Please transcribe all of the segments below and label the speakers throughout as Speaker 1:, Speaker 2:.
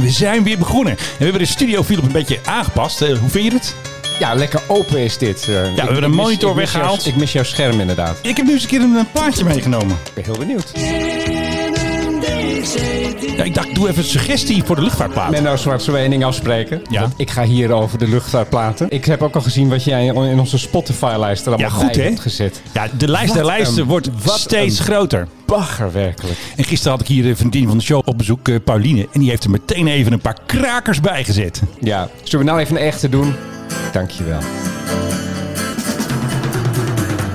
Speaker 1: we zijn weer begonnen. En we hebben de studio Philip een beetje aangepast. Eh, hoe vind je het?
Speaker 2: Ja, lekker open is dit. eh. ja,
Speaker 1: we hebben de monitor weggehaald.
Speaker 2: ik mis jouw scherm inderdaad.
Speaker 1: Ik heb nu eens een keer een, een plaatje meegenomen.
Speaker 2: Ik ben heel benieuwd.
Speaker 1: Ja, ik dacht, doe even een suggestie voor de luchtvaartplaat.
Speaker 2: Menno nou Zwart, zullen we één ding afspreken?
Speaker 1: Ja.
Speaker 2: Want ik ga hier over de luchtvaartplaten. Ik heb ook al gezien wat jij in onze Spotify-lijst er allemaal
Speaker 1: Ja, goed,
Speaker 2: bij
Speaker 1: hè?
Speaker 2: hebt gezet.
Speaker 1: Ja, de lijst
Speaker 2: Wat
Speaker 1: der lijsten
Speaker 2: een-
Speaker 1: wordt
Speaker 2: wat
Speaker 1: steeds
Speaker 2: een-
Speaker 1: groter.
Speaker 2: Bagger werkelijk.
Speaker 1: En gisteren had ik hier een vriendin van de show op bezoek, eh, Pauline. En die heeft er meteen even een paar krakers bij gezet.
Speaker 2: Ja, zullen we nou even een echte doen? Dankjewel.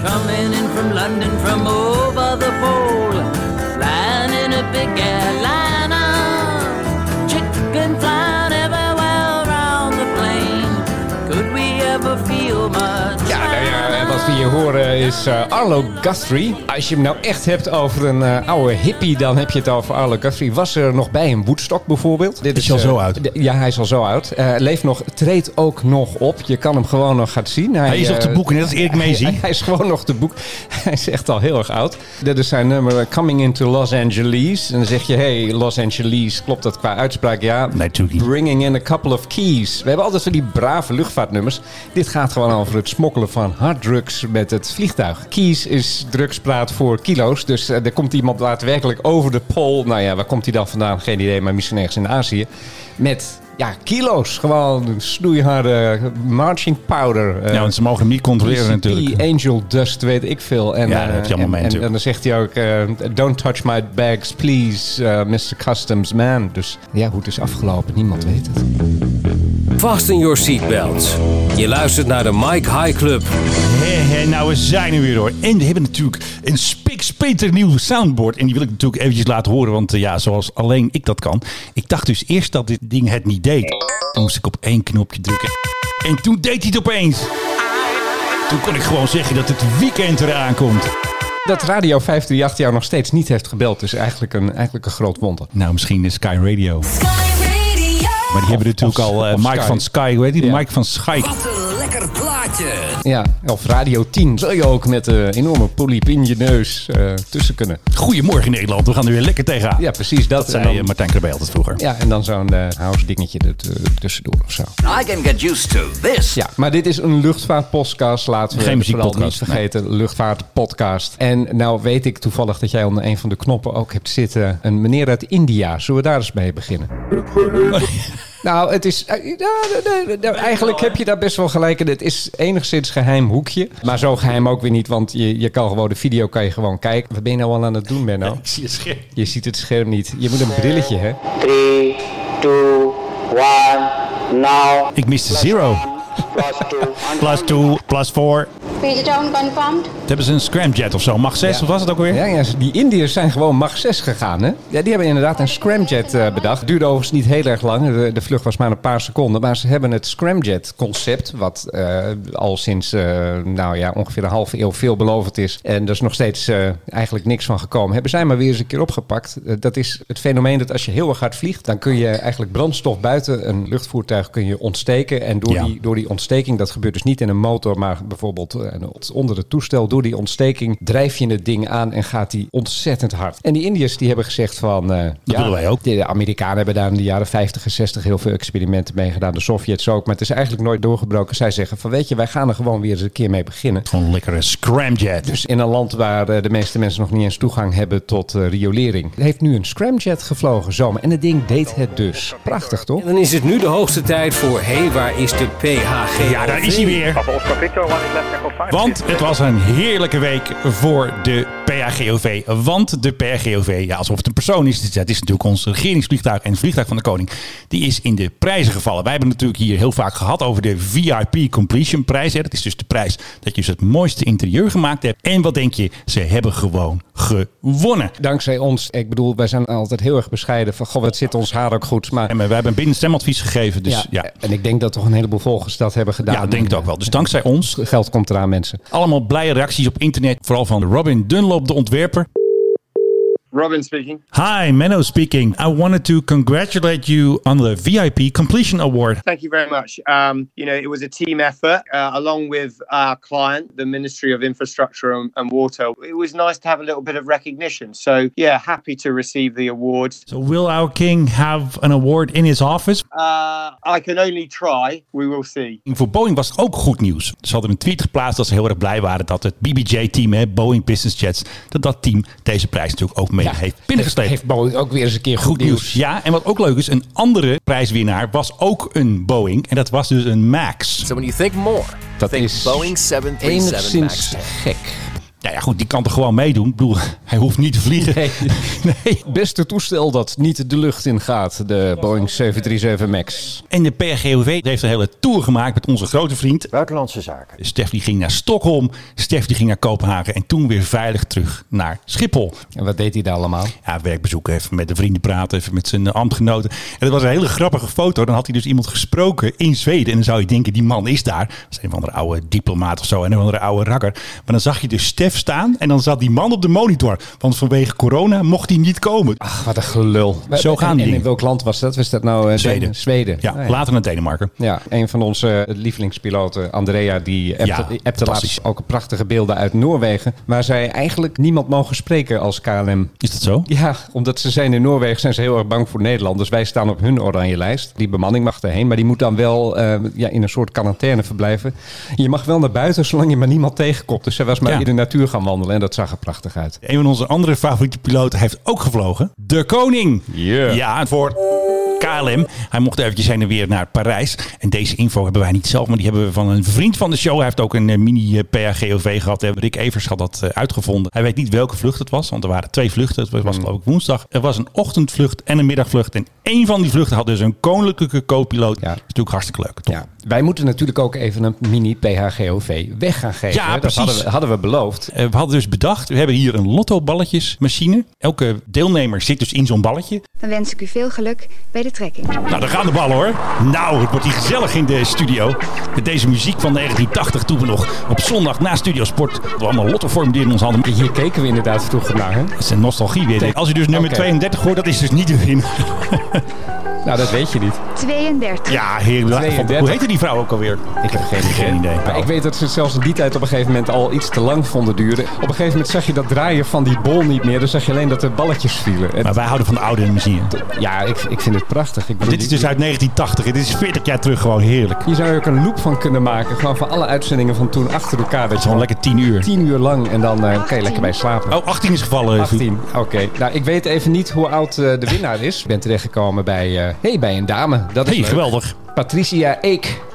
Speaker 3: Coming in from London from over the pole. Flying in a big airliner. Chicken flying everywhere around the plane. Could we ever feel much?
Speaker 2: Ja, nou ja, wat we hier horen is eh, Arlo Guthrie. Als je hem nou echt hebt over een eh, oude hippie, dan heb je het over Arlo Guthrie. Was er nog bij een Woodstock bijvoorbeeld? Dit
Speaker 1: Is hij al
Speaker 2: eh,
Speaker 1: zo oud?
Speaker 2: de- ja, hij is al zo oud. Eh, leeft nog, treedt ook nog op. Je kan hem gewoon nog gaan zien.
Speaker 1: Hij is op de
Speaker 2: eh,
Speaker 1: boeken, net als Erik Meezy.
Speaker 2: Hij, hij is gewoon nog te boek. Hij is echt al heel erg oud. Dit is zijn nummer eh, Coming into Los Angeles. En dan zeg je, hey, Los Angeles, klopt dat qua uitspraak? Ja,
Speaker 1: Nee, natuurlijk niet.
Speaker 2: Bringing in a couple of keys. We hebben altijd van die brave luchtvaartnummers. Dit gaat gewoon over het smokkelen van harddrugs met het vliegtuig. Keys is drugspraat voor kilo's. Dus eh, er komt iemand daadwerkelijk over de pool. Nou ja, waar komt hij dan vandaan? Geen idee, maar misschien ergens in Azië. Met... Ja, kilo's. Gewoon snoeiharde marching powder. eh,
Speaker 1: ja, want ze mogen hem niet controleren
Speaker 2: PCP,
Speaker 1: natuurlijk.
Speaker 2: Angel Dust, weet ik veel. En,
Speaker 1: Ja, dat heb je
Speaker 2: eh,
Speaker 1: allemaal mee
Speaker 2: en, en,
Speaker 1: natuurlijk.
Speaker 2: dan zegt hij ook, eh, don't touch my bags, please, eh, Mr. Customs man. Dus ja, hoe het is afgelopen, niemand weet het.
Speaker 4: Fasten your seatbelts. Je luistert naar de Mike High Club.
Speaker 1: Hé, hé, nou, we zijn er weer hoor. En we hebben natuurlijk een spiksplinter nieuw soundboard. En die wil ik natuurlijk eventjes laten horen. Want eh, ja, zoals alleen ik dat kan. Ik dacht dus eerst dat dit ding het niet deed. Toen moest ik op één knopje drukken. En toen deed hij het opeens. Toen kon ik gewoon zeggen dat het weekend eraan komt.
Speaker 2: Dat Radio 538 jou nog steeds niet heeft gebeld, is eigenlijk een, eigenlijk een groot wonder.
Speaker 1: Nou, misschien is Sky Radio.
Speaker 5: Sky Radio.
Speaker 1: Maar die hebben natuurlijk
Speaker 2: of-
Speaker 1: al eh,
Speaker 2: of
Speaker 1: Mike
Speaker 2: Sky.
Speaker 1: van Sky. Hoe heet die?
Speaker 2: Ja.
Speaker 1: Mike van Sky.
Speaker 4: Wat een lekker plaatje.
Speaker 2: Ja, of Radio 10 zou je ook met een enorme polyp in je neus eh, tussen kunnen.
Speaker 1: Goedemorgen Nederland. We gaan er weer lekker tegenaan.
Speaker 2: Ja, precies dat.
Speaker 1: Dat zei
Speaker 2: en
Speaker 1: eh,
Speaker 2: dan,
Speaker 1: Martijn Krabbe altijd vroeger.
Speaker 2: ja, en dan zo'n eh, house dingetje er t- tussendoor of zo.
Speaker 3: I can get used to this.
Speaker 2: Ja, maar dit is een luchtvaartpodcast. Laten we
Speaker 1: Geen
Speaker 2: vooral niet
Speaker 1: muziekpodcast,
Speaker 2: vergeten. Luchtvaartpodcast. En nou weet ik toevallig dat jij onder een van de knoppen ook hebt zitten. Een meneer uit India. Zullen we daar eens mee beginnen? Nou, het is. eh, ja, nee, nee, nee, Eigenlijk heb je daar best wel gelijk in. Het is enigszins geheim hoekje. Maar zo geheim ook weer niet. Want je, je kan gewoon de video kan je gewoon kijken. Wat ben je nou al aan het doen, Menno?
Speaker 1: Ik zie het scherm.
Speaker 2: Je ziet het scherm niet. Je moet een brilletje, hè?
Speaker 6: Three, two, one, now.
Speaker 1: Ik miste zero.
Speaker 6: Plus two.
Speaker 1: Plus two, plus four.
Speaker 7: Page down confirmed.
Speaker 1: Dat hebben ze een scramjet of zo. Mag 6
Speaker 2: Ja.
Speaker 1: of was het ook weer?
Speaker 2: Ja, ja, die Indiërs zijn gewoon Mach 6 gegaan, hè? Ja, die hebben inderdaad een scramjet eh, bedacht. Duurde overigens niet heel erg lang. De, de vlucht was maar een paar seconden. Maar ze hebben het scramjet-concept, wat eh, al sinds eh, nou ja, ongeveer een halve eeuw veelbelovend is. En er is nog steeds eh, eigenlijk niks van gekomen. Hebben zij maar weer eens een keer opgepakt. Eh, dat is het fenomeen dat als je heel erg hard vliegt, dan kun je eigenlijk brandstof buiten een luchtvoertuig kun je ontsteken. En door,
Speaker 1: Ja.
Speaker 2: die, door die ontsteking, dat gebeurt dus niet in een motor, maar bijvoorbeeld eh, onder het toestel. Door die ontsteking drijf je het ding aan en gaat die ontzettend hard. En die Indiërs die hebben gezegd van... eh, ja,
Speaker 1: willen wij ook.
Speaker 2: De Amerikanen hebben daar in de jaren 50 en 60 heel veel experimenten mee gedaan. De Sovjets ook. Maar het is eigenlijk nooit doorgebroken. Zij zeggen van weet je, wij gaan er gewoon weer eens een keer mee beginnen.
Speaker 1: Gewoon een lekkere scramjet.
Speaker 2: Dus in een land waar eh, de meeste mensen nog niet eens toegang hebben tot eh, riolering. Het heeft nu een scramjet gevlogen zomaar. En het ding deed het dus. Prachtig toch?
Speaker 4: En dan is het nu de hoogste tijd voor... Hé, hey, waar is de PHG?
Speaker 1: ja, Ah, daar is hij weer. Want het was een heerlijke week voor de PAGOV. Want de PAGOV, ja, alsof het een persoon is. Het is natuurlijk ons regeringsvliegtuig en het vliegtuig van de koning. Die is in de prijzen gevallen. Wij hebben het natuurlijk hier heel vaak gehad over de VIP Completion prijs. Hè. Dat is dus de prijs dat je dus het mooiste interieur gemaakt hebt. En wat denk je? Ze hebben gewoon gewonnen.
Speaker 2: Dankzij ons. Ik bedoel, wij zijn altijd heel erg bescheiden. Van, goh, wat zit ons haar ook goed. Maar,
Speaker 1: En we hebben een bindenstemadvies gegeven. Dus ja, ja.
Speaker 2: En ik denk dat toch een heleboel volgers dat hebben gedaan.
Speaker 1: ik denk het ook wel. Dus dankzij ons
Speaker 2: Geld komt eraan, mensen.
Speaker 1: Allemaal blije reacties op internet. Vooral van Robin Dunlop, de ontwerper.
Speaker 5: Robin speaking.
Speaker 1: Hi, Menno speaking. I wanted to congratulate you on the VIP Completion Award.
Speaker 5: Thank you very much. Um, you know, it was a team effort uh, along with our client, the Ministry of Infrastructure and, and Water. It was nice to have a little bit of recognition. So, yeah, happy to receive the award.
Speaker 1: So, will our king have an award in his office?
Speaker 5: Uh, I can only try. We will see.
Speaker 1: Voor Boeing was het ook goed nieuws. Ze hadden een tweet geplaatst dat ze heel erg blij waren dat het BBJ-team, Boeing Business Jets, dat dat team deze prijs natuurlijk ook mee heeft binnengesleept.
Speaker 2: Heeft Boeing ook weer eens een keer goed,
Speaker 1: Goed nieuws. Ja, en wat ook leuk is, een andere prijswinnaar was ook een Boeing. En dat was dus een MAX.
Speaker 7: So when you think more,
Speaker 2: Dat
Speaker 7: think
Speaker 2: is
Speaker 7: Boeing 737
Speaker 2: Enigszins
Speaker 7: MAX 10.
Speaker 2: gek.
Speaker 1: Nou ja, goed, die kan er gewoon meedoen. Ik bedoel, hij hoeft niet te vliegen.
Speaker 2: Nee.
Speaker 1: nee.
Speaker 2: Beste toestel dat niet de lucht in gaat, de Boeing 737 MAX.
Speaker 1: En de PRGOV heeft een hele tour gemaakt met onze grote vriend.
Speaker 8: Buitenlandse zaken.
Speaker 1: Stef die ging naar Stockholm, Stef die ging naar Kopenhagen en toen weer veilig terug naar Schiphol.
Speaker 2: En wat deed hij daar allemaal?
Speaker 1: Ja, werkbezoek, even met de vrienden praten, even met zijn eh, ambtgenoten. En dat was een hele grappige foto. Dan had hij dus iemand gesproken in Zweden. En dan zou je denken, die man is daar. Dat is een van de oude diplomaat of zo, en een van de oude rakker. Maar dan zag je dus Stef staan en dan zat die man op de monitor. Want vanwege corona mocht hij niet komen.
Speaker 2: Ach, wat een gelul.
Speaker 1: Zo gaan
Speaker 2: en,
Speaker 1: die
Speaker 2: en in
Speaker 1: dingen.
Speaker 2: welk land was dat? Was dat nou eh,
Speaker 1: Zweden.
Speaker 2: Zweden.
Speaker 1: ja,
Speaker 2: Ah, ja.
Speaker 1: later naar Denemarken.
Speaker 2: Ja, een van onze eh, lievelingspiloten, Andrea, die
Speaker 1: Ja,
Speaker 2: appte, appte
Speaker 1: fantastisch.
Speaker 2: laatst ook prachtige beelden uit Noorwegen. Waar zij eigenlijk niemand mogen spreken als KLM.
Speaker 1: Is dat zo?
Speaker 2: Ja, omdat ze zijn in Noorwegen zijn ze heel erg bang voor Nederlanders. Wij staan op hun oranje lijst. Die bemanning mag erheen, maar die moet dan wel eh, ja, in een soort quarantaine verblijven. Je mag wel naar buiten zolang je maar niemand tegenkomt. Dus zij was maar
Speaker 1: Ja.
Speaker 2: in de natuur gaan wandelen en dat zag er prachtig uit.
Speaker 1: Een van onze andere favoriete piloten heeft ook gevlogen. De Koning.
Speaker 2: Yeah.
Speaker 1: Ja, voor KLM. Hij mocht eventjes heen en weer naar Parijs. En deze info hebben wij niet zelf, maar die hebben we van een vriend van de show. Hij heeft ook een eh, mini eh, PHGOV gehad. Eh, Rick Evers had dat eh, uitgevonden. Hij weet niet welke vlucht het was, want er waren twee vluchten. Het was geloof ik woensdag. Er was een ochtendvlucht en een middagvlucht. En één van die vluchten had dus een koninklijke co-piloot.
Speaker 2: Ja.
Speaker 1: Dat is natuurlijk hartstikke leuk. Toch?
Speaker 2: Ja, wij moeten natuurlijk ook even een mini PHGOV weg gaan geven.
Speaker 1: Ja,
Speaker 2: dat
Speaker 1: precies.
Speaker 2: hadden we, hadden we beloofd.
Speaker 1: Eh, We hadden dus bedacht, we hebben hier een lottoballetjesmachine. Elke deelnemer zit dus in zo'n balletje.
Speaker 9: Dan wens ik u veel geluk bij de trekking.
Speaker 1: Nou, daar gaan de ballen hoor. Nou, het wordt hier gezellig in de studio. Met deze muziek van 1980 toen we nog op zondag na Studio Sport... we hadden allemaal lottoformulieren in ons handen. Dat
Speaker 2: Hier keken we indaad vroeger naar. Hè?
Speaker 1: is een nostalgie weer. Als u dus nummer
Speaker 2: Oké.
Speaker 1: 32 hoort, dat is dus niet de win.
Speaker 2: Nou, dat weet je niet.
Speaker 9: 32.
Speaker 1: Ja, heerlijk. Van-
Speaker 2: 32.
Speaker 1: Hoe heette die vrouw ook alweer?
Speaker 2: Ik heb geen idee.
Speaker 1: Geen idee.
Speaker 2: Maar ik weet dat ze het zelfs in die tijd op een gegeven moment al iets te lang vonden duren. Op een gegeven moment zag je dat draaien van die bol niet meer. Dan zag je alleen dat er balletjes vielen. Het-
Speaker 1: Maar wij houden van de oude machine.
Speaker 2: ja, ik, ik vind het prachtig. Ik bedoel,
Speaker 1: Dit is dus
Speaker 2: je-
Speaker 1: uit 1980. Dit is 40 jaar terug gewoon heerlijk.
Speaker 2: je zou er ook een loop van kunnen maken. Gewoon van alle uitzendingen van toen achter elkaar. Dat
Speaker 1: Gewoon
Speaker 2: je gewoon
Speaker 1: lekker 10 uur.
Speaker 2: tien uur lang en dan eh kan je lekker bij slapen.
Speaker 1: Oh, 18 is gevallen. Soet.
Speaker 2: 18, oké. Nou, ik weet even niet hoe oud eh, de winnaar is. Ik ben terechtgekomen bij, eh hey, bij een dame. Dat is
Speaker 1: hey,
Speaker 2: leuk.
Speaker 1: geweldig.
Speaker 2: Patricia Eek. Uit-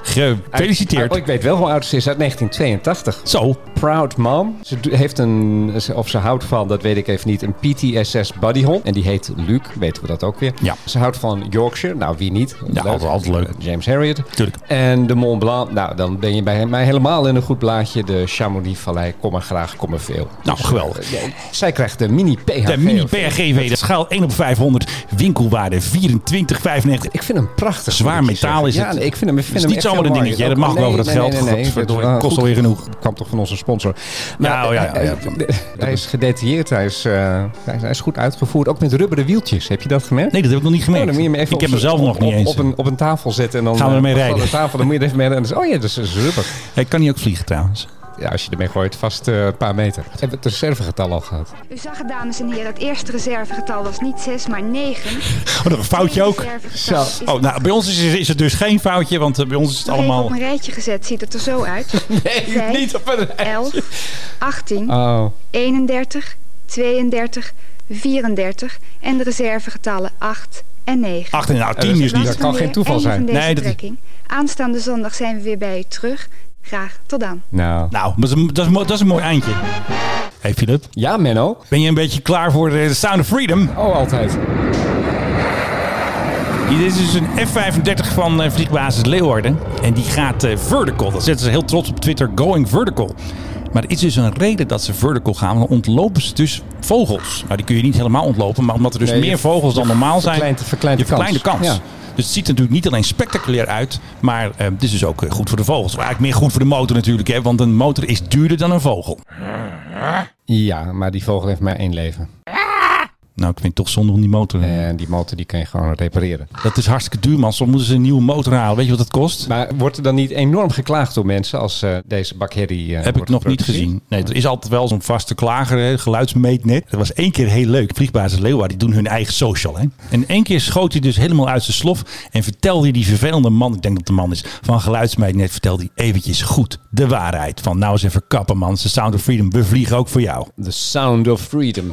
Speaker 1: Gefeliciteerd.
Speaker 2: oh, ik weet wel hoe oud ze is. Uit 1982.
Speaker 1: Zo,
Speaker 2: Proud Mom. Ze do- heeft een, ze- of ze houdt van, dat weet ik even niet, een PTSS bodyhond. En die heet Luke, weten we dat ook weer.
Speaker 1: Ja.
Speaker 2: Ze houdt van Yorkshire, nou wie niet.
Speaker 1: Ja, altijd- altijd leuk.
Speaker 2: James Harriet.
Speaker 1: Tuurlijk.
Speaker 2: En de Mont Blanc, nou dan ben je bij mij helemaal in een goed blaadje. De Chamonix-vallei, kom maar graag, kom maar veel. Dus, eh,
Speaker 1: nou geweldig.
Speaker 2: Ja, zij krijgt de mini PHV.
Speaker 1: De mini PRGV, de schaal 1 op 500, winkelwaarde 24,95.
Speaker 2: Ik vind hem prachtig.
Speaker 1: Zwaar
Speaker 2: moet ik je
Speaker 1: metaal
Speaker 2: zeggen.
Speaker 1: is
Speaker 2: ja,
Speaker 1: het.
Speaker 2: nee, ik vind hem, ik vind
Speaker 1: Het is
Speaker 2: hem
Speaker 1: niet zomaar een
Speaker 2: echt heel mooi. Oh,
Speaker 1: dingetje, hè?
Speaker 2: Ook-
Speaker 1: Dat mag wel over dat geld. Godverdorie,
Speaker 2: wel
Speaker 1: kost
Speaker 2: goed.
Speaker 1: alweer genoeg.
Speaker 2: kwam toch van onze sponsor.
Speaker 1: Ja, oh ja,
Speaker 2: eh,
Speaker 1: ja, ja.
Speaker 2: eh, Hij is gedetailleerd, hij is, eh, hij hij is goed uitgevoerd. Ook met rubberen wieltjes, heb je dat gemerkt?
Speaker 1: Nee, dat heb ik nog niet
Speaker 2: Oh,
Speaker 1: gemerkt.
Speaker 2: dan moet je hem even
Speaker 1: ik heb
Speaker 2: op-
Speaker 1: mezelf
Speaker 2: op-
Speaker 1: nog niet
Speaker 2: op-
Speaker 1: eens.
Speaker 2: Op een, op een tafel zetten en dan...
Speaker 1: Gaan we
Speaker 2: eh,
Speaker 1: ermee
Speaker 2: op
Speaker 1: rijden.
Speaker 2: de tafel, dan moet je er even mee rijden. En dan is- Oh ja, dat is, dat is rubber.
Speaker 1: Hij kan niet ook vliegen trouwens.
Speaker 2: Ja, als je ermee gooit, vast eh, een paar meter. Hebben we het reservegetal al gehad?
Speaker 9: U zag het, dames en heren. Het eerste reservegetal was niet 6, maar 9.
Speaker 1: Oh, nog een foutje ook.
Speaker 9: Reservegetal is-
Speaker 1: Oh, nou, bij ons is, is het dus geen foutje, want eh, bij ons is het
Speaker 9: Nog even
Speaker 1: allemaal...
Speaker 9: op een rijtje gezet ziet het er zo uit. Vijf,
Speaker 2: op een
Speaker 9: 11, 18,
Speaker 1: Eh.
Speaker 2: Oh,
Speaker 9: 31, 32, 34 en de reservegetallen 8 en 9.
Speaker 1: 8 en nou, 10
Speaker 2: dat is
Speaker 1: dus
Speaker 2: niet-
Speaker 1: niet.
Speaker 2: dat kan geen toeval zijn.
Speaker 1: Nee,
Speaker 9: nee,
Speaker 1: dat
Speaker 9: dat
Speaker 1: is-
Speaker 9: Aanstaande zondag zijn we weer bij u terug. Graag tot dan.
Speaker 2: nou.
Speaker 1: Nou, dat is, een- dat, is, mo- dat is een mooi eindje. Hey Philip,
Speaker 2: Ja, Menno.
Speaker 1: ben je een beetje klaar voor eh, de Sound of Freedom?
Speaker 2: Oh, altijd.
Speaker 1: Dit is dus een F-35 van eh, vliegbasis Leeuwarden. En die gaat eh, vertical. Dat zetten ze heel trots op Twitter. Going vertical. Maar er is dus een reden dat ze vertical gaan. Want dan ontlopen ze dus vogels. Nou, die kun je niet helemaal ontlopen. Maar omdat er dus
Speaker 2: Nee, je
Speaker 1: meer vogels dan normaal zijn.
Speaker 2: verkleint- verkleint de
Speaker 1: je verkleint
Speaker 2: kans.
Speaker 1: de kans.
Speaker 2: Ja.
Speaker 1: Dus het ziet er natuurlijk niet alleen spectaculair uit. Maar eh, het is dus ook eh, goed voor de vogels. Maar eigenlijk meer goed voor de motor natuurlijk. Hè, want een motor is duurder dan een vogel.
Speaker 2: Ja, maar die vogel heeft maar één leven.
Speaker 1: Nou, ik vind het toch zonde om die motor.
Speaker 2: En die motor die kun je gewoon repareren.
Speaker 1: Dat is hartstikke duur, man. Soms moeten ze een nieuwe motor halen. Weet je wat dat kost?
Speaker 2: Maar wordt er dan niet enorm geklaagd door mensen als eh, deze bakherrie eh,
Speaker 1: Heb ik
Speaker 2: wordt
Speaker 1: nog niet
Speaker 2: geproduceerd?
Speaker 1: gezien. Nee, er is altijd wel zo'n vaste klager, hè, geluidsmeetnet. Dat was één keer heel leuk. Vliegbasis Leeuwarden, die doen hun eigen social. Hè. En één keer schoot hij dus helemaal uit zijn slof en vertelde hij die vervelende man, ik denk dat de man is, van geluidsmeetnet, vertelde hij eventjes goed de waarheid. Van nou eens even kappen, man. De Sound of Freedom, we vliegen ook voor jou.
Speaker 2: The sound of freedom.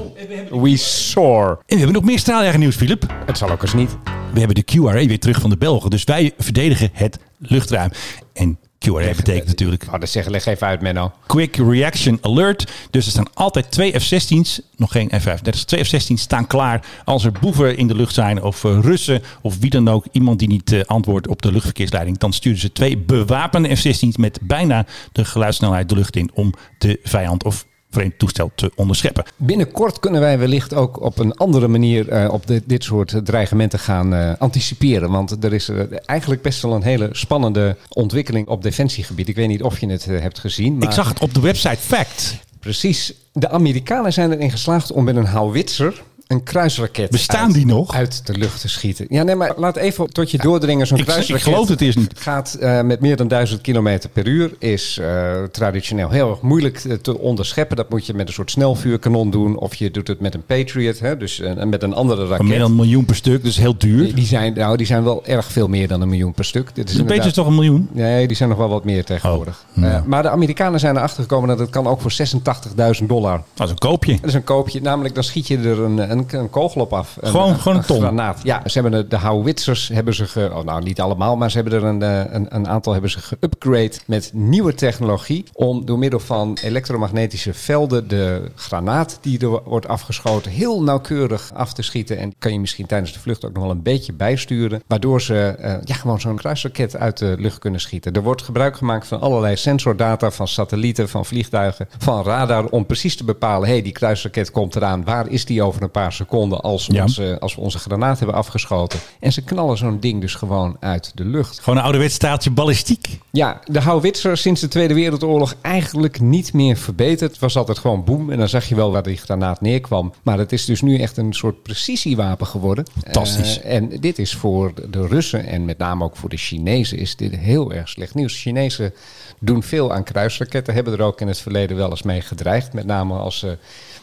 Speaker 2: We soar.
Speaker 1: En we hebben nog meer straaljaren nieuws, Filip.
Speaker 2: Het zal ook eens niet.
Speaker 1: We hebben de QRA weer terug van de Belgen. Dus wij verdedigen het luchtruim. En QRA betekent natuurlijk
Speaker 2: Ik wou Oh, dat zeggen, leg even uit, Menno.
Speaker 1: Quick Reaction Alert. Dus er staan altijd twee F-16's, nog geen F-35, twee F-16's staan klaar als er boeven in de lucht zijn of eh, Russen of wie dan ook, iemand die niet eh, antwoordt op de luchtverkeersleiding. Dan sturen ze twee bewapende F-16's met bijna de geluidssnelheid de lucht in om de vijand of vreemd toestel te onderscheppen.
Speaker 2: Binnenkort kunnen wij wellicht ook op een andere manier eh, op dit, dit soort eh, dreigementen gaan eh, anticiperen. Want er is eh, eigenlijk best wel een hele spannende ontwikkeling op defensiegebied. Ik weet niet of je het eh, hebt gezien. Maar
Speaker 1: Ik zag het op de website Fact.
Speaker 2: precies. De Amerikanen zijn erin geslaagd om met een howitzer een kruisraket
Speaker 1: Bestaan
Speaker 2: uit,
Speaker 1: die nog?
Speaker 2: uit de lucht te schieten. Ja, nee, maar laat even tot je doordringen. Zo'n
Speaker 1: Ik- ik
Speaker 2: kruisraket
Speaker 1: geloof het eerst niet.
Speaker 2: gaat eh, met meer dan 1000 km per uur. Is eh, traditioneel heel erg moeilijk eh, te- te onderscheppen. Dat moet je met een soort snelvuurkanon doen. Of je doet het met een Patriot, hè, dus eh, met een andere raket.
Speaker 1: Meer dan een miljoen per stuk, dus heel duur.
Speaker 2: Die zijn, nou, die zijn wel erg veel meer dan een miljoen per stuk. Dit is
Speaker 1: Een beetje
Speaker 2: inderdaad-
Speaker 1: is toch een miljoen?
Speaker 2: Nee, die zijn nog wel wat meer tegenwoordig.
Speaker 1: Oh, ja.
Speaker 2: Eh, maar de Amerikanen zijn erachter gekomen dat het kan ook voor 86.000 dollar.
Speaker 1: Dat is een koopje.
Speaker 2: Dat is een koopje. Namelijk, dan schiet je er een, een, een kogel op af. eh, Een-
Speaker 1: Gewoon- gewoon een ton.
Speaker 2: granaat. Ja, ze hebben de, de howitzers hebben ze ge, oh, nou niet allemaal, maar ze hebben er een, eh, een, een aantal hebben ze geupgrade met nieuwe technologie om door middel van elektromagnetische velden de granaat die er wordt afgeschoten heel nauwkeurig af te schieten en kan je misschien tijdens de vlucht ook nog wel een beetje bijsturen, waardoor ze eh, ja, gewoon zo'n kruisraket uit de lucht kunnen schieten. Er wordt gebruik gemaakt van allerlei sensordata van satellieten, van vliegtuigen, van radar om precies te bepalen, hé, hey, die kruisraket komt eraan, waar is die over een paar seconden als
Speaker 1: Ja.
Speaker 2: onze eh, als we onze granaat hebben afgeschoten. En ze knallen zo'n ding dus gewoon uit de lucht.
Speaker 1: Gewoon een ouderwets staaltje ballistiek.
Speaker 2: Ja, de houwitser sinds de Tweede Wereldoorlog eigenlijk niet meer verbeterd. Het was altijd gewoon boem en dan zag je wel waar die granaat neerkwam. Maar het is dus nu echt een soort precisiewapen geworden.
Speaker 1: Fantastisch.
Speaker 2: Eh, en dit is voor de Russen en met name ook voor de Chinezen is dit heel erg slecht nieuws. Chinezen doen veel aan kruisraketten, hebben er ook in het verleden wel eens mee gedreigd. Met name als ze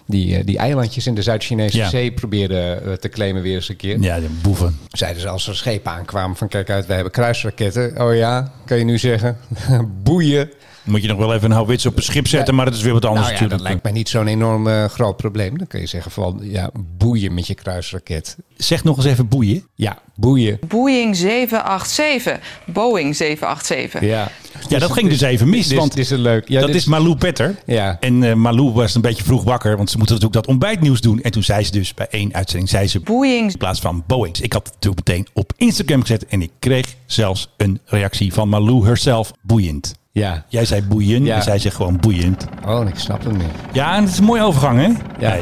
Speaker 2: die, eh, die eilandjes in de Zuid-Chinese
Speaker 1: Ja.
Speaker 2: zee probeerden eh, te claimen weer eens een keer
Speaker 1: Ja, de boeven.
Speaker 2: zeiden ze als er schepen aankwamen van kijk uit, wij hebben kruisraketten. Oh ja, kan je nu zeggen. Boeien.
Speaker 1: Moet je nog wel even een houwits op een schip zetten, maar dat is weer wat anders
Speaker 2: nou ja, dat
Speaker 1: natuurlijk.
Speaker 2: lijkt mij niet zo'n enorm eh, groot probleem. Dan kun je zeggen van ja, boeien met je kruisraket.
Speaker 1: Zeg nog eens even boeien.
Speaker 2: Ja, boeien.
Speaker 8: Boeing 787. Boeing 787.
Speaker 2: Ja,
Speaker 1: Ja, dat ging dus even mis.
Speaker 2: dit, is-
Speaker 1: Want
Speaker 2: dit is een leuk. Ja,
Speaker 1: dat
Speaker 2: dit
Speaker 1: is Malou Petter.
Speaker 2: Ja.
Speaker 1: En eh, Malou was een beetje vroeg wakker, want ze moeten natuurlijk dat ontbijtnieuws doen. En toen zei ze dus bij één uitzending, zei ze
Speaker 8: Boeing
Speaker 1: in plaats van Boeing. Ik had het natuurlijk meteen op Instagram gezet en ik kreeg zelfs een reactie van Malou herself, boeiend.
Speaker 2: Ja.
Speaker 1: Jij zei boeien
Speaker 2: Ja.
Speaker 1: en zij zegt gewoon boeiend.
Speaker 2: Oh, ik snap hem nu.
Speaker 1: Ja, en het is een mooie overgang, hè?
Speaker 2: Ja.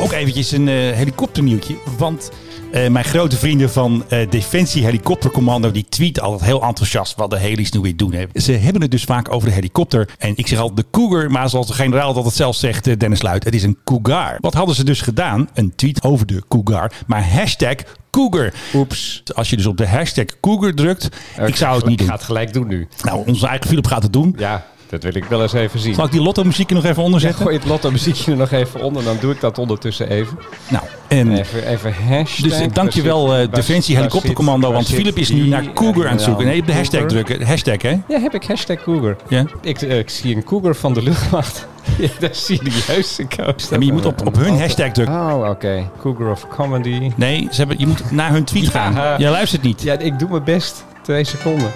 Speaker 1: Ook eventjes een eh, helikopternieuwtje. Want eh, mijn grote vrienden van eh, Defensie Helikoptercommando... die tweeten altijd heel enthousiast wat de helis nu weer doen. Hè. Ze hebben het dus vaak over de helikopter. En ik zeg altijd de cougar, maar zoals de generaal dat het zelf zegt... eh, Dennis Luit, het is een cougar. Wat hadden ze dus gedaan? Een tweet over de cougar, maar hashtag cougar.
Speaker 2: Oeps.
Speaker 1: Als je dus op de hashtag cougar drukt... ik zou het niet
Speaker 2: Ik
Speaker 1: doen.
Speaker 2: ga het gelijk doen nu.
Speaker 1: Nou, onze eigen Philip gaat het doen.
Speaker 2: Ja, dat wil ik wel eens even zien.
Speaker 1: Zal ik die lotto muziek nog even onderzetten?
Speaker 2: Gooi het lotto muziekje er nog even onder, dan doe ik dat ondertussen even.
Speaker 1: nou, en...
Speaker 2: Even, even hashtag.
Speaker 1: Dus eh, dankjewel eh, Defensie Helikoptercommando, want Philip is nu naar Cougar aan het zoeken. Nee, op de hashtag
Speaker 2: drukken.
Speaker 1: drukken. Hashtag, hè?
Speaker 2: Ja, heb ik hashtag cougar.
Speaker 1: Ja.
Speaker 2: Ik, eh, ik zie een cougar van de luchtmacht. ja, dat is serieus. Ik hoop dat
Speaker 1: Ja, maar je
Speaker 2: er
Speaker 1: moet op,
Speaker 2: een
Speaker 1: op hun
Speaker 2: auto-
Speaker 1: hashtag drukken.
Speaker 2: Oh, oké. Cougar of comedy.
Speaker 1: Nee, ze hebben, je moet naar hun tweet gaan. Jij luistert niet.
Speaker 2: Ja, ik doe mijn best. Twee seconden.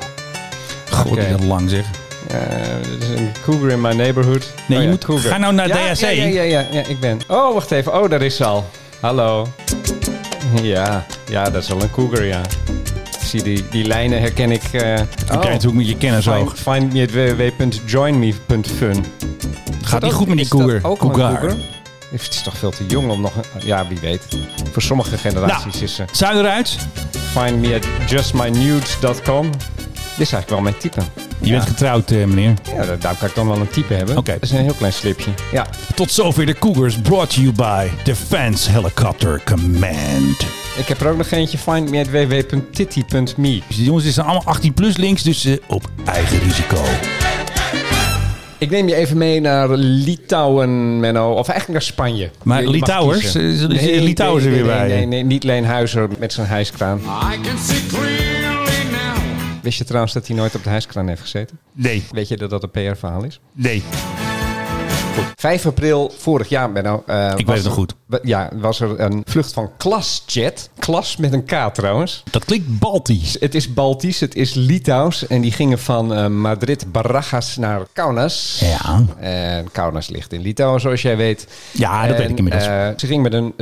Speaker 1: God,
Speaker 2: Oké.
Speaker 1: dat lang zeg.
Speaker 2: Eh, dit is een cougar in my neighborhood. Oh
Speaker 1: je
Speaker 2: ja,
Speaker 1: moet-
Speaker 2: cougar.
Speaker 1: ga nou naar
Speaker 2: ja,
Speaker 1: DSA.
Speaker 2: Ja, ja, ja, ja, ik ben. Oh, wacht even. Oh, daar is ze al. Hallo. Ja, ja, dat is wel een cougar, ja. Ik zie die, die lijnen herken ik. eh
Speaker 1: Dan krijg je natuurlijk met je
Speaker 2: Find,
Speaker 1: kennisoog.
Speaker 2: find me at www.joinme.fun.
Speaker 1: Gaat niet
Speaker 2: ook-
Speaker 1: goed met Nou, die
Speaker 2: is dat
Speaker 1: Cougar.
Speaker 2: ook al een
Speaker 1: Cougar.
Speaker 2: cougar? Het is toch veel te jong om nog... een- Ja, wie weet. Voor sommige generaties
Speaker 1: Nou.
Speaker 2: is eh, ze...
Speaker 1: Zijn we eruit?
Speaker 2: Find me at justmynudes.com. Dit is eigenlijk wel mijn type.
Speaker 1: Je bent getrouwd, eh, meneer.
Speaker 2: Ja, daar daar kan ik dan wel een type hebben.
Speaker 1: Oké.
Speaker 2: Dat is een heel klein slipje. Ja.
Speaker 1: Tot zover de Cougars, brought to you by Defense Helicopter Command.
Speaker 2: Ik heb er ook nog eentje. Find me at www.titty.me.
Speaker 1: Dus die jongens die zijn allemaal 18 plus links, dus eh, op eigen risico.
Speaker 2: Ik neem je even mee naar Litouwen, Menno. Of eigenlijk naar Spanje.
Speaker 1: Maar
Speaker 2: Je mag
Speaker 1: Litouwers?
Speaker 2: kiezen.
Speaker 1: Is- is- is Litouwers er
Speaker 2: nee,
Speaker 1: weer
Speaker 2: nee,
Speaker 1: bij?
Speaker 2: Nee, nee, niet Leenhuizer met zijn hijskraan.
Speaker 7: I can see clearly now.
Speaker 2: Wist je trouwens dat hij nooit op de hijskraan heeft gezeten?
Speaker 1: Nee,
Speaker 2: Weet je dat dat een PR-verhaal is?
Speaker 1: nee.
Speaker 2: 5 april vorig jaar, Benno. eh, was
Speaker 1: weet het nog
Speaker 2: er-
Speaker 1: goed.
Speaker 2: wa- Ja, was er een vlucht van Klasjet. Klas met een K trouwens. Dus
Speaker 1: Dat klinkt Baltisch.
Speaker 2: Het is Baltisch, het is Litouws. En die gingen van eh, Madrid, Barajas naar Kaunas.
Speaker 1: Ja.
Speaker 2: En Kaunas ligt in Litouwen, zoals jij weet.
Speaker 1: Ja, Ah, dat weet ik inmiddels.
Speaker 2: eh, ze ging met een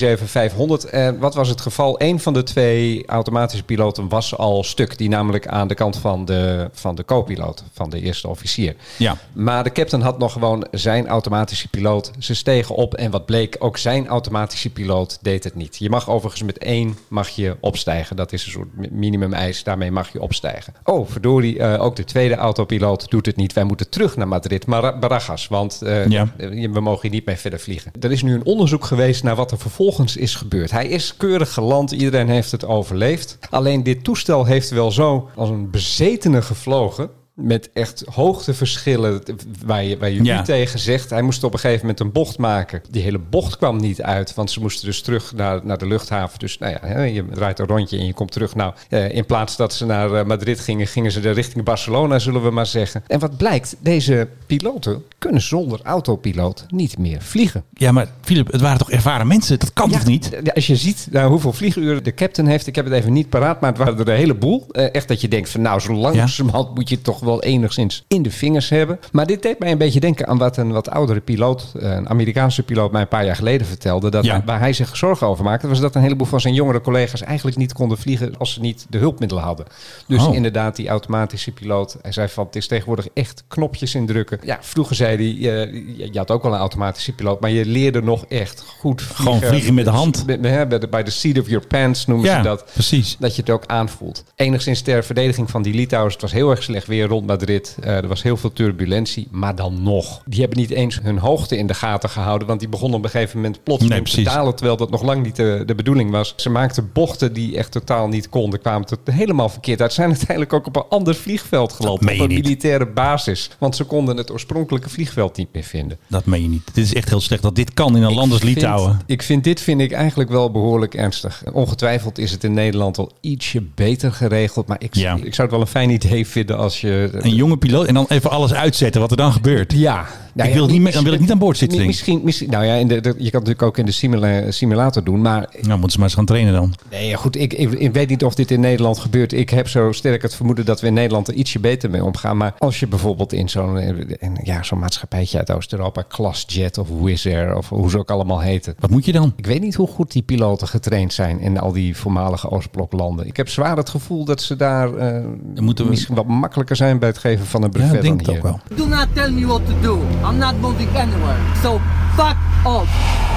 Speaker 2: 737-500. En wat was het geval? Een van de twee automatische piloten was al stuk. Die namelijk aan de kant van de, van de co-piloot, van de eerste officier.
Speaker 1: Ja.
Speaker 2: Maar de captain had nog gewoon zijn automatische piloot. Ze stegen op en wat bleek, ook zijn automatische piloot deed het niet. Je mag overigens met één mag je opstijgen. Dat is een soort mi- minimum eis. Daarmee mag je opstijgen. Oh, verdorie, eh, ook de tweede autopiloot doet het niet. Wij moeten terug naar Madrid, Mar- Barajas. Want eh,
Speaker 1: Ja.
Speaker 2: eh, we mogen hier niet mee verder vliegen. Er is nu een onderzoek geweest naar wat er vervolgens is gebeurd. Hij is keurig geland, iedereen heeft het overleefd. Alleen dit toestel heeft wel zo als een bezetene gevlogen. Met echt hoogteverschillen t- waar je, waar je
Speaker 1: Ja.
Speaker 2: nu tegen zegt. Hij moest op een gegeven moment een bocht maken. Die hele bocht kwam niet uit, want ze moesten dus terug naar, naar de luchthaven. Dus nou ja, hè, je draait een rondje en je komt terug. Nou, eh, in plaats dat ze naar eh, Madrid gingen, gingen ze de richting Barcelona, zullen we maar zeggen. En wat blijkt, deze piloten kunnen zonder autopiloot niet meer vliegen.
Speaker 1: Ja, maar Filip, het waren toch ervaren mensen? Dat kan toch niet?
Speaker 2: Ja, Als je ziet nou, hoeveel vlieguren de captain heeft, ik heb het even niet paraat, maar het waren er een heleboel. Eh, echt dat je denkt van nou, zo langzamerhand moet je het toch wel enigszins in de vingers hebben. Maar dit deed mij een beetje denken aan wat een wat oudere piloot, eh, een Amerikaanse piloot, mij een paar jaar geleden vertelde. Dat
Speaker 1: Ja.
Speaker 2: waar hij zich zorgen over maakte, was dat een heleboel van zijn jongere collega's eigenlijk niet konden vliegen als ze niet de hulpmiddelen hadden. Dus
Speaker 1: Oh.
Speaker 2: inderdaad, die automatische piloot, hij zei van het is tegenwoordig echt knopjes indrukken. Ja, vroeger zei hij, eh, je- je had ook wel een automatische piloot, maar je leerde nog echt goed
Speaker 1: Gewoon vliegen met de hand.
Speaker 2: bij- bij- bij de- Bij de seat of your pants noemen
Speaker 1: Ja,
Speaker 2: ze dat.
Speaker 1: precies.
Speaker 2: Dat je het ook aanvoelt. Enigszins ter verdediging van die Litouwers. Het was heel erg slecht weer rond Madrid. Eh, er was heel veel turbulentie. Maar dan nog. Die hebben niet eens hun hoogte in de gaten gehouden. Want die begonnen op een gegeven moment plotseling
Speaker 1: Nee,
Speaker 2: te
Speaker 1: precies.
Speaker 2: dalen. Terwijl dat nog lang niet eh, de, de bedoeling was. Ze maakten bochten die echt totaal niet konden. Kwamen tot helemaal verkeerd uit. Zijn uiteindelijk ook op een ander vliegveld geland.
Speaker 1: meen je
Speaker 2: Op een
Speaker 1: niet.
Speaker 2: militaire basis. Want ze konden het oorspronkelijke vliegveld niet meer vinden.
Speaker 1: Dat meen je niet. Dit is echt heel slecht dat dit kan in een land als
Speaker 2: Ik
Speaker 1: Litouwen.
Speaker 2: Vind, ik vind dit vind ik eigenlijk wel behoorlijk ernstig. Ongetwijfeld is het in Nederland al ietsje beter geregeld. Maar ik,
Speaker 1: Ja.
Speaker 2: ik zou het wel een fijn idee vinden als je.
Speaker 1: Een jonge piloot en dan even alles uitzetten wat er dan gebeurt.
Speaker 2: ja, Nou
Speaker 1: Ik wil niet meer- dan wil ik niet aan boord zitten,
Speaker 2: mi-
Speaker 1: denk ik.
Speaker 2: Misschien, misschien, nou ja, in de, de- je kan het natuurlijk ook in de simula- simulator doen. Maar
Speaker 1: Nou, moeten ze maar eens gaan trainen dan.
Speaker 2: nee, ja, goed, ik, ik, ik weet niet of dit in Nederland gebeurt. Ik heb zo sterk het vermoeden dat we in Nederland er ietsje beter mee omgaan. Maar als je bijvoorbeeld in zo'n in, ja, zo'n maatschappijtje uit Oost-Europa, Klasjet of Wizz Air of hoe ze ook allemaal heten.
Speaker 1: Wat moet je dan?
Speaker 2: Ik weet niet hoe goed die piloten getraind zijn in al die voormalige Oostbloklanden. Ik heb zwaar het gevoel dat ze daar eh,
Speaker 1: moeten we-
Speaker 2: misschien wat makkelijker zijn bij het geven van een
Speaker 1: Ja,
Speaker 2: brevet
Speaker 1: ik denk
Speaker 2: dan
Speaker 1: het
Speaker 2: hier.
Speaker 1: ook wel.
Speaker 3: Do not tell me what to do. I'm not moving anywhere. So fuck off.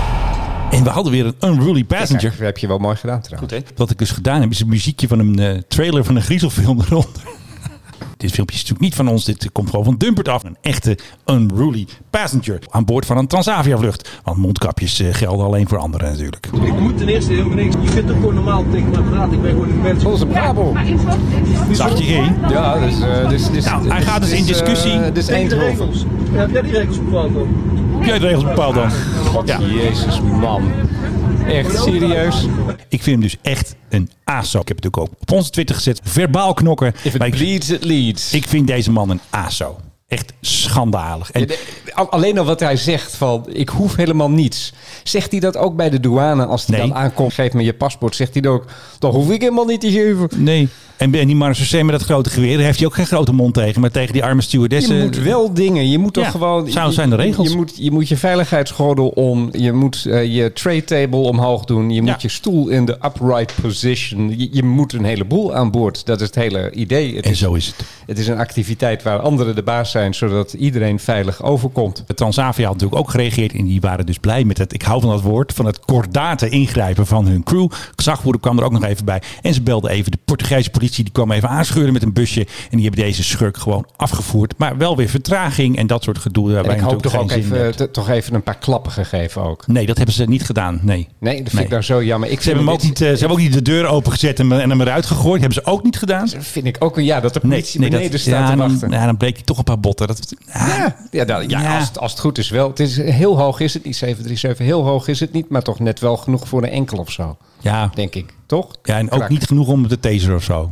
Speaker 1: En we hadden weer een unruly passenger.
Speaker 2: Kijk, dat heb je wel mooi gedaan trouwens.
Speaker 1: Wat ik dus gedaan heb, is een muziekje van een eh, trailer van een griezelfilm eronder. dit filmpje is natuurlijk niet van ons. Dit komt gewoon van Dumpert af. Een echte unruly passenger aan boord van een Transavia-vlucht. Want mondkapjes eh, gelden alleen voor anderen natuurlijk.
Speaker 10: Ik moet ten eerste helemaal niks. Je kunt ook gewoon normaal tegen mij praten. Ik ben gewoon een mens.
Speaker 2: Volgens Bravo.
Speaker 1: Zag je geen?
Speaker 2: Ja, dus, eh, dus, dus
Speaker 1: Nou,
Speaker 2: dus-
Speaker 1: hij gaat dus in
Speaker 2: eh,
Speaker 1: discussie.
Speaker 2: dus
Speaker 10: Tegen de
Speaker 2: Eindhoven.
Speaker 10: regels. Heb jij die regels bepaald dan?
Speaker 1: Heb jij de regels bepaald dan? Ja.
Speaker 2: Jezus man. Echt serieus.
Speaker 1: Ik vind hem dus echt een aso. Ik heb het natuurlijk ook op onze Twitter gezet. Verbaal knokken. Maar ik,
Speaker 2: it leads.
Speaker 1: ik vind deze man een aso. Echt schandalig. En
Speaker 2: Al- Alleen al wat hij zegt van ik hoef helemaal niets. Zegt hij dat ook bij de douane als hij
Speaker 1: Nee.
Speaker 2: dan aankomt? Geef me je paspoort. Zegt hij dan ook, dan hoef ik helemaal niet te geven.
Speaker 1: Nee. En en die Marseille met dat grote geweer, daar heeft hij ook geen grote mond tegen. Maar tegen die arme stewardessen...
Speaker 2: Je moet wel dingen. Je moet toch
Speaker 1: Ja,
Speaker 2: gewoon.
Speaker 1: zou-
Speaker 2: je-
Speaker 1: zijn de regels.
Speaker 2: Je moet je, moet je veiligheidsgordel om. Je moet eh, je tray table omhoog doen. Je moet
Speaker 1: Ja.
Speaker 2: je stoel in de upright position. Je, je moet een heleboel aan boord. Dat is het hele idee. Het,
Speaker 1: En
Speaker 2: is,
Speaker 1: zo is het.
Speaker 2: het is een activiteit waar anderen de baas zijn, zodat iedereen veilig overkomt.
Speaker 1: Transavia had natuurlijk ook gereageerd en die waren dus blij met het, ik hou van dat woord, van het kordate ingrijpen van hun crew. Gezagvoerder kwam er ook nog even bij en ze belden even de Portugese politie, die kwam even aanscheuren met een busje en die hebben deze schurk gewoon afgevoerd. Maar wel weer vertraging en dat soort gedoe. Waarbij
Speaker 2: En ik hoop
Speaker 1: natuurlijk
Speaker 2: toch ook
Speaker 1: geen zin in
Speaker 2: even,
Speaker 1: hebt.
Speaker 2: t- toch even een paar klappen gegeven ook.
Speaker 1: Nee, dat hebben ze niet gedaan. Nee.
Speaker 2: Nee, dat vind
Speaker 1: Nee.
Speaker 2: ik nou zo jammer. Ik
Speaker 1: Ze hebben, hem ook niet, eh, ze hebben ook niet de deur opengezet en, en hem eruit gegooid. Hebben ze ook niet gedaan.
Speaker 2: Vind ik ook een ja dat de politie beneden staat
Speaker 1: ja,
Speaker 2: te
Speaker 1: dan-
Speaker 2: wachten.
Speaker 1: ja, dan bleek hij toch een paar botten. Dat, ah,
Speaker 2: Ja, ja, dan- ja,
Speaker 1: Ja.
Speaker 2: Als, het, als het goed is wel. Het is heel hoog is het niet, 737. Heel hoog is het niet, maar toch net wel genoeg voor een enkel of zo.
Speaker 1: ja.
Speaker 2: Denk ik, toch?
Speaker 1: ja, en ook
Speaker 2: Krak.
Speaker 1: niet genoeg om de taser of zo.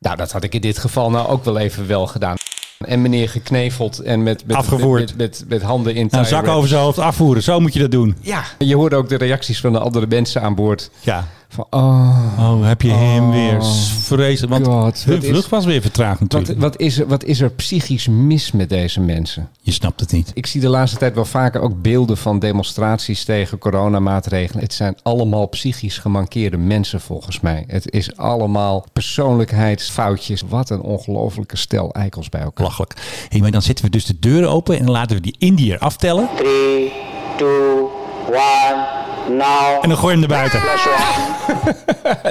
Speaker 2: Nou, dat had ik in dit geval nou ook wel even wel gedaan. En meneer gekneveld en met, met,
Speaker 1: Afgevoerd.
Speaker 2: met, met, met handen in
Speaker 1: Nou,
Speaker 2: tie
Speaker 1: zak
Speaker 2: wrap.
Speaker 1: over zijn hoofd afvoeren. Zo moet je dat doen.
Speaker 2: Ja, je hoorde ook de reacties van de andere mensen aan boord.
Speaker 1: Ja.
Speaker 2: Van, oh,
Speaker 1: Oh, heb je hem weer. Vreselijk. Want
Speaker 2: God, wat
Speaker 1: hun
Speaker 2: is-
Speaker 1: vlucht was weer vertraagd
Speaker 2: wat,
Speaker 1: natuurlijk.
Speaker 2: wat, is er, wat is er psychisch mis met deze mensen?
Speaker 1: Je snapt het niet.
Speaker 2: Ik zie de laatste tijd wel vaker ook beelden van demonstraties tegen coronamaatregelen. Het zijn allemaal psychisch gemankeerde mensen volgens mij. Het is allemaal persoonlijkheidsfoutjes. Wat een ongelofelijke stel eikels bij elkaar.
Speaker 1: Belachelijk. Hey, maar dan zetten we dus de deuren open en dan laten we die Indiër aftellen.
Speaker 6: Three, two, one, now.
Speaker 1: En dan gooi je hem naar buiten.
Speaker 6: Flash one.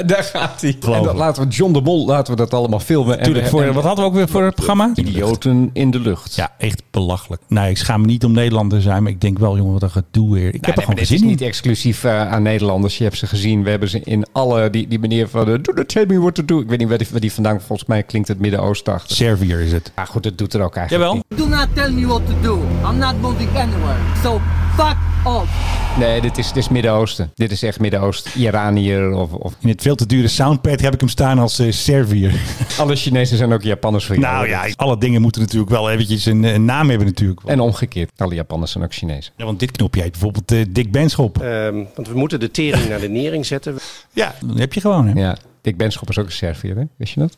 Speaker 2: Daar gaat hij.
Speaker 1: Geloof
Speaker 2: En dat
Speaker 1: me.
Speaker 2: laten we John de Mol, laten we dat allemaal filmen. En
Speaker 1: Tuurlijk,
Speaker 2: we-
Speaker 1: voor,
Speaker 2: en-
Speaker 1: wat hadden we ook weer voor het programma?
Speaker 2: Idioten in de lucht.
Speaker 1: Ja, echt belachelijk. Nou, ik schaam me niet om Nederlander te zijn, maar ik denk wel, jongen, wat een gedoe weer. Ik heb er
Speaker 2: Nee, maar
Speaker 1: gewoon
Speaker 2: dit
Speaker 1: geen
Speaker 2: is
Speaker 1: zin
Speaker 2: niet
Speaker 1: in.
Speaker 2: exclusief eh, aan Nederlanders. Je hebt ze gezien. We hebben ze in alle... Die, die meneer van... eh, Do not tell me what to do. Ik weet niet waar die, waar die vandaan... Volgens mij klinkt het Midden-Oosten achter.
Speaker 1: Servier is het.
Speaker 2: Maar goed, dat doet er ook eigenlijk
Speaker 1: Jawel.
Speaker 10: Do not tell me what to do. I'm not moving anywhere. So fuck off.
Speaker 2: niet. Nee, dit is, dit is Midden-Oosten. Dit is echt Midden-Oosten. Iranier of, of...
Speaker 1: In het veel te dure soundpad heb ik hem staan als eh, Servier.
Speaker 2: Alle Chinezen zijn ook Japanners voor jou.
Speaker 1: Nou ja, alle dingen moeten natuurlijk wel eventjes een, een naam hebben natuurlijk.
Speaker 2: En omgekeerd. Alle Japanners zijn ook Chinezen.
Speaker 1: Ja, want dit knopje heet bijvoorbeeld eh, Dick Benschop.
Speaker 4: Ehm,
Speaker 11: want we moeten de tering naar de nering zetten.
Speaker 1: ja, dat heb je gewoon hè.
Speaker 2: Ja. Dick Benschop is ook een Serviër, hè? Wist je dat?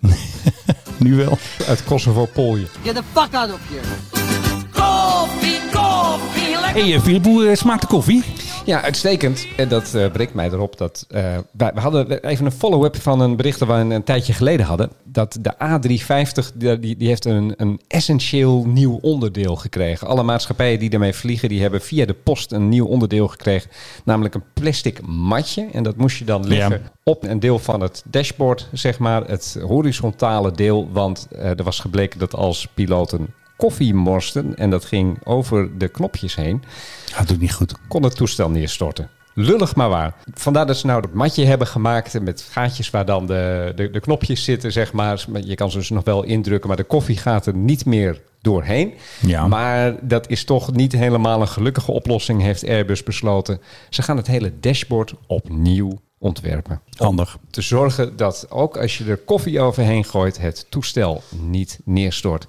Speaker 1: Nu wel.
Speaker 2: Uit Kosovo-Polje.
Speaker 10: Get the fuck out of here.
Speaker 3: Koffie, koffie, lekker.
Speaker 1: hey, eh, Philip, hoe eh, smaakt de koffie?
Speaker 2: Ja, uitstekend. En dat eh breekt mij erop dat eh, wij- we hadden even een follow-up van een bericht dat we een, een tijdje geleden hadden. Dat de A350, die, die die heeft een, een essentieel nieuw onderdeel gekregen. Alle maatschappijen die daarmee vliegen, die hebben via de post een nieuw onderdeel gekregen. Namelijk een plastic matje. En dat moest je dan leggen
Speaker 1: Ja.
Speaker 2: op een deel van het dashboard, zeg maar. Het horizontale deel. Want eh, er was gebleken dat als piloten koffie morsten en dat ging over de knopjes heen
Speaker 1: Ja, dat doet niet goed.
Speaker 2: kon het toestel neerstorten. Lullig maar waar. Vandaar dat ze nou dat matje hebben gemaakt met gaatjes waar dan de, de, de knopjes zitten, zeg maar. Je kan ze dus nog wel indrukken, maar de koffie gaat er niet meer doorheen.
Speaker 1: Ja.
Speaker 2: Maar dat is toch niet helemaal een gelukkige oplossing, heeft Airbus besloten. Ze gaan het hele dashboard opnieuw ontwerpen.
Speaker 1: Handig.
Speaker 2: Te zorgen dat ook als je er koffie overheen gooit, het toestel niet neerstort.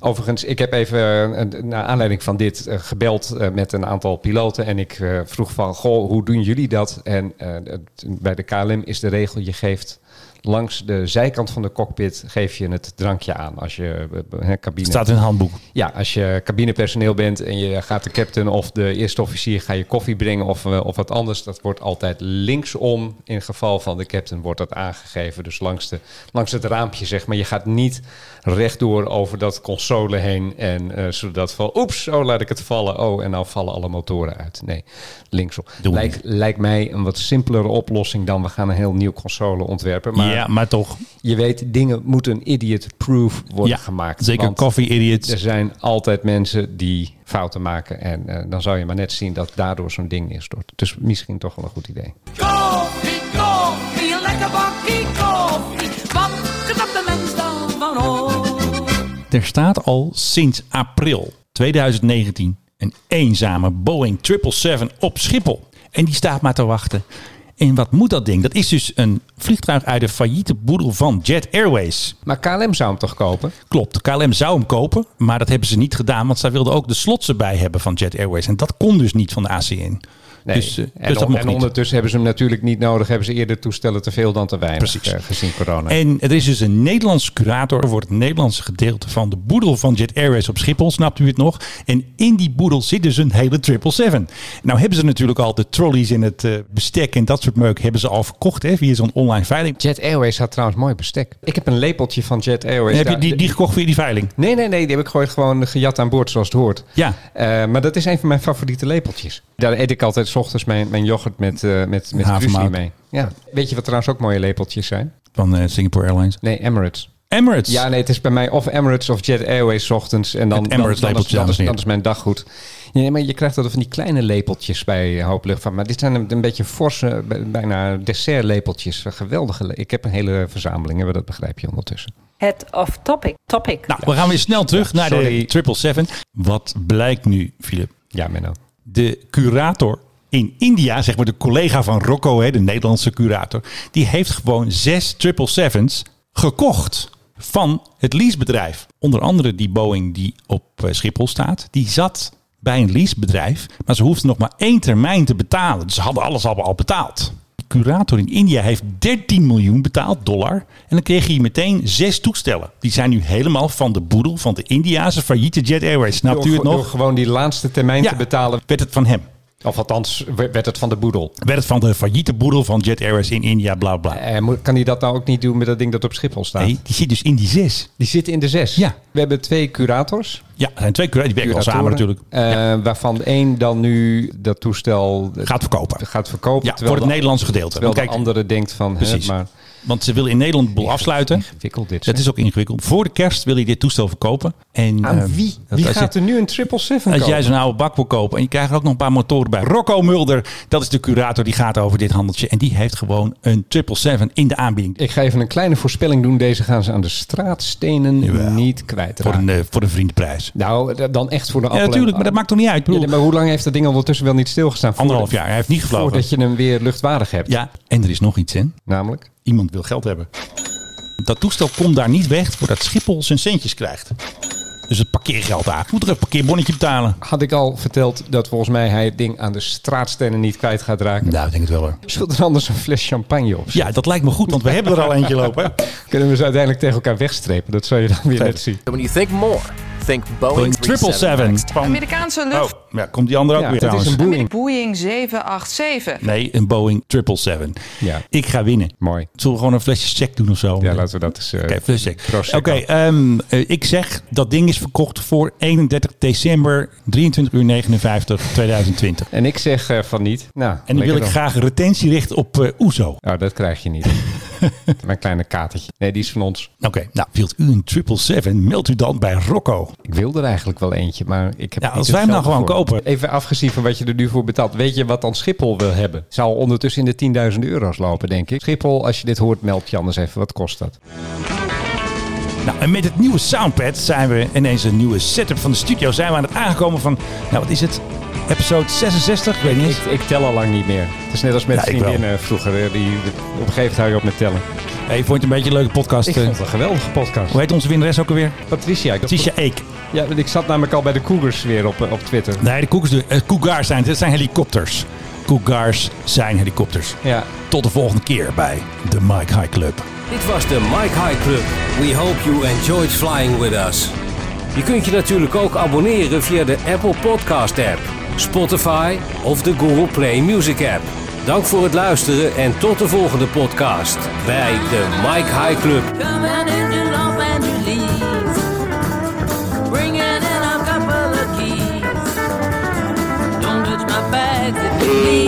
Speaker 2: Overigens, ik heb even eh, een- naar aanleiding van dit eh, gebeld eh, met een aantal piloten. En ik eh, vroeg van, goh, hoe doen jullie dat? En eh, het- bij de KLM is de regel, je geeft langs de zijkant van de cockpit geef je het drankje aan. Als je eh, eh, cabine...
Speaker 1: Staat in het handboek.
Speaker 2: Ja, als je cabinepersoneel bent en je gaat de captain of de eerste officier ga je koffie brengen of, eh, of wat anders, dat wordt altijd linksom. In het geval van de captain wordt dat aangegeven, dus langs, de, langs het raampje zeg maar. Je gaat niet rechtdoor over dat console heen en eh, zodat van oeps, oh laat ik het vallen. Oh, en nou vallen alle motoren uit. Nee, linksom.
Speaker 1: Doen we
Speaker 2: Lijkt, lijkt mij een wat simpelere oplossing dan we gaan een heel nieuw console ontwerpen. Maar
Speaker 1: ja, maar toch.
Speaker 2: je weet, dingen moeten idiot-proof
Speaker 1: ja,
Speaker 2: worden gemaakt.
Speaker 1: Zeker
Speaker 2: want-
Speaker 1: koffie idiots.
Speaker 2: er zijn altijd mensen die fouten maken. En eh, dan zou je maar net zien dat daardoor zo'n ding neerstort. Dus misschien toch wel een goed idee.
Speaker 3: Koffie, koffie, lekker bakkie koffie. Wat knapt de mens dan van hoor?
Speaker 1: Er staat al sinds april 2019 een eenzame Boeing 777 op Schiphol. En die staat maar te wachten. En wat moet dat ding? Dat is dus een vliegtuig uit de failliete boedel van Jet Airways.
Speaker 2: Maar KLM zou hem toch kopen?
Speaker 1: Klopt, KLM zou hem kopen, maar dat hebben ze niet gedaan, want zij wilden ook de slots erbij hebben van Jet Airways. En dat kon dus niet van de ACN.
Speaker 2: Nee.
Speaker 1: Dus, eh,
Speaker 2: en
Speaker 1: dus
Speaker 2: on-
Speaker 1: dat mocht
Speaker 2: en
Speaker 1: niet.
Speaker 2: ondertussen hebben ze hem natuurlijk niet nodig. Hebben ze eerder toestellen te veel dan te weinig.
Speaker 1: Precies.
Speaker 2: eh, gezien corona.
Speaker 1: En er is dus een Nederlands curator voor het Nederlandse gedeelte van de boedel van Jet Airways op Schiphol. Snapt u het nog? En in die boedel zit dus een hele 777. Nou hebben ze natuurlijk al de trolleys en het eh, bestek en dat soort meuk hebben ze al verkocht hè, via zo'n online veiling.
Speaker 2: Jet Airways had trouwens mooi bestek. Ik heb een lepeltje van Jet Airways.
Speaker 1: Heb je
Speaker 2: Daar-
Speaker 1: die, die gekocht via die veiling?
Speaker 2: Nee, nee, nee. Die heb ik gewoon, gewoon gejat aan boord, zoals het hoort.
Speaker 1: Ja.
Speaker 2: Eh, maar dat is een van mijn favoriete lepeltjes. Daar eet ik altijd 's ochtends mijn, mijn yoghurt met, eh met, met
Speaker 1: Havermout.
Speaker 2: muesli mee. Ja. Weet je wat trouwens ook mooie lepeltjes zijn?
Speaker 1: Van eh, Singapore Airlines.
Speaker 2: Nee, Emirates.
Speaker 1: Emirates.
Speaker 2: Ja, nee, het is bij mij of Emirates of Jet Airways 's ochtends. En dan,
Speaker 1: Het Emirates
Speaker 2: dan, dan, is,
Speaker 1: lepeltje,
Speaker 2: dan, is,
Speaker 1: dames en heren.
Speaker 2: dan is mijn dag goed. Ja, nee, maar je krijgt altijd van die kleine lepeltjes bij een hoop luchtvaart. Maar dit zijn een, een beetje forse, bij- bijna dessertlepeltjes. Geweldige. le- Ik heb een hele verzameling, hè, dat begrijp je ondertussen.
Speaker 12: Het off-topic. Topic.
Speaker 1: Nou, we gaan weer snel terug naar de 777. Wat blijkt nu, Philip?
Speaker 2: Ja, Menno.
Speaker 1: De curator in India, zeg maar de collega van Rocco, hè, de Nederlandse curator, die heeft gewoon zes 777's gekocht van het leasebedrijf. Onder andere die Boeing die op eh, Schiphol staat, die zat bij een leasebedrijf, maar ze hoefde nog maar één termijn te betalen. Dus ze hadden alles al, al betaald. De curator in India heeft 13 miljoen betaald, dollar. En dan kreeg hij meteen zes toestellen. Die zijn nu helemaal van de boedel van de Indiase failliete Jet Airways. Snapt u
Speaker 2: Door-
Speaker 1: het nog?
Speaker 2: door gewoon die laatste termijn
Speaker 1: Ja.
Speaker 2: te betalen.
Speaker 1: Werd het van hem.
Speaker 2: Of althans, werd het van de boedel.
Speaker 1: werd het van de failliete boedel van Jet Airways in India, bla bla.
Speaker 2: Eh, moet- kan hij dat nou ook niet doen met dat ding dat op Schiphol staat?
Speaker 1: Nee, die zit dus in die zes.
Speaker 2: Die zit in de zes.
Speaker 1: Ja.
Speaker 2: We hebben twee curators.
Speaker 1: Ja, er zijn twee cura- die werken wel samen
Speaker 2: curatoren,
Speaker 1: natuurlijk.
Speaker 2: eh, Waarvan één dan nu dat toestel eh,
Speaker 1: Gaat verkopen.
Speaker 2: gaat verkopen.
Speaker 1: Ja,
Speaker 2: terwijl
Speaker 1: voor het
Speaker 2: de-
Speaker 1: Nederlandse gedeelte.
Speaker 2: Terwijl
Speaker 1: Want
Speaker 2: de
Speaker 1: kijk-
Speaker 2: andere denkt van... hè,
Speaker 1: Precies.
Speaker 2: maar
Speaker 1: Want ze willen in Nederland de boel afsluiten.
Speaker 2: ingewikkeld dit.
Speaker 1: Dat
Speaker 2: zeg.
Speaker 1: is ook ingewikkeld. Voor de kerst wil je dit toestel verkopen. En,
Speaker 2: Aan
Speaker 1: ehm,
Speaker 2: wie?
Speaker 1: dat
Speaker 2: Wie
Speaker 1: als je-
Speaker 2: gaat er nu een 777
Speaker 1: Als
Speaker 2: kopen?
Speaker 1: jij zo'n oude bak wil kopen en je krijgt er ook nog een paar motoren bij. Rocco Mulder, dat is de curator die gaat over dit handeltje. En die heeft gewoon een 777 in de aanbieding.
Speaker 2: Ik ga even een kleine voorspelling doen. Deze gaan ze aan de straatstenen
Speaker 1: Jawel.
Speaker 2: niet kwijt.
Speaker 1: Voor een, eh, voor een vriendenprijs.
Speaker 2: Nou, d- dan echt voor de
Speaker 1: Ja,
Speaker 2: appel en-
Speaker 1: natuurlijk, maar dat maakt toch niet uit. Ik bedoel,
Speaker 2: Ja, maar hoe lang heeft dat ding ondertussen wel niet stilgestaan? Voordat-
Speaker 1: anderhalf jaar, hij heeft niet gevlogen.
Speaker 2: Voordat je hem weer luchtwaardig hebt.
Speaker 1: Ja, en er is nog iets, hè?
Speaker 2: Namelijk?
Speaker 1: Iemand wil geld hebben. Dat toestel komt daar niet weg voordat Schiphol zijn centjes krijgt. Dus het parkeergeld aan. Moet er een parkeerbonnetje betalen?
Speaker 2: Had ik al verteld dat volgens mij hij het ding aan de straatstenen niet kwijt gaat raken.
Speaker 1: Nou, ik denk het wel hoor.
Speaker 2: Zult er anders een fles champagne op?
Speaker 1: Ja, dat lijkt me goed, want we hebben er al eentje lopen. hè?
Speaker 2: Kunnen we ze uiteindelijk tegen elkaar wegstrepen? Dat zou je dan weer net zien.
Speaker 13: When you think more, think Boeing
Speaker 1: Boeing 777.
Speaker 13: 777.
Speaker 1: Van-
Speaker 8: Amerikaanse lucht-
Speaker 1: Oh, ja, komt die andere ook
Speaker 2: Ja,
Speaker 1: weer
Speaker 2: dat is
Speaker 1: trouwens.
Speaker 2: een boeing.
Speaker 8: Boeing 787.
Speaker 1: Nee, een Boeing 777.
Speaker 2: Ja.
Speaker 1: Ik ga winnen.
Speaker 2: Mooi.
Speaker 1: Zullen we gewoon een flesje check doen of zo?
Speaker 2: Ja, laten we dat eens... eh,
Speaker 1: Oké, flesje check. Oké,
Speaker 2: Prosecco.
Speaker 1: ehm, eh, ik zeg dat ding is verkocht voor 31 december 23 uur 59 2020.
Speaker 2: En ik zeg eh, van niet. Nou,
Speaker 1: En dan wil ik graag retentie richten op eh, Oezo.
Speaker 2: Nou, dat krijg je niet. Mijn kleine katertje. Nee, die is van ons.
Speaker 1: Oké, nou, wilt u een 777, meld u dan bij Rocco.
Speaker 2: Ik wil er eigenlijk wel eentje, maar ik heb
Speaker 1: Ja,
Speaker 2: niet
Speaker 1: als
Speaker 2: het
Speaker 1: wij hem nou
Speaker 2: geld
Speaker 1: gewoon
Speaker 2: ervoor.
Speaker 1: kopen.
Speaker 2: Even afgezien van wat je er nu voor betaalt. Weet je wat dan Schiphol wil hebben? Zou ondertussen in de 10.000 euro's lopen, denk ik. Schiphol, als je dit hoort, meld je anders even. Wat kost dat?
Speaker 1: Nou, en met het nieuwe soundpad zijn we ineens een nieuwe setup van de studio. Zijn we aan het aangekomen van, nou wat is het? Episode 66, ik weet niet
Speaker 2: Ik,
Speaker 1: eens.
Speaker 2: ik tel al lang niet meer. Het is net als met
Speaker 1: Ja, ik wel.
Speaker 2: vriendinnen vroeger. hè, Die, op een gegeven moment hou je op met tellen.
Speaker 1: Hey, vond je het een beetje een leuke podcast?
Speaker 2: Ik
Speaker 1: eh?
Speaker 2: vond het een geweldige podcast.
Speaker 1: Hoe heet onze winnares ook alweer?
Speaker 2: Patricia. Ik,
Speaker 1: Tisha Eek.
Speaker 2: Ja, want ik zat namelijk al bij de Cougars weer op, eh, op Twitter.
Speaker 1: Nee, de koekers, de, eh, cougars zijn, het zijn helikopters. Cougars zijn helikopters.
Speaker 2: Ja.
Speaker 1: Tot de volgende keer bij de Mike High Club.
Speaker 4: Dit was de Mike High Club. We hope you enjoyed flying with us. Je kunt je natuurlijk ook abonneren via de Apple Podcast app, Spotify of de Google Play Music app. Dank voor het luisteren en tot de volgende podcast bij de Mike High Club.
Speaker 3: Coming into Los Angeles, bringing in a couple of keys. Don't touch my bags if you leave.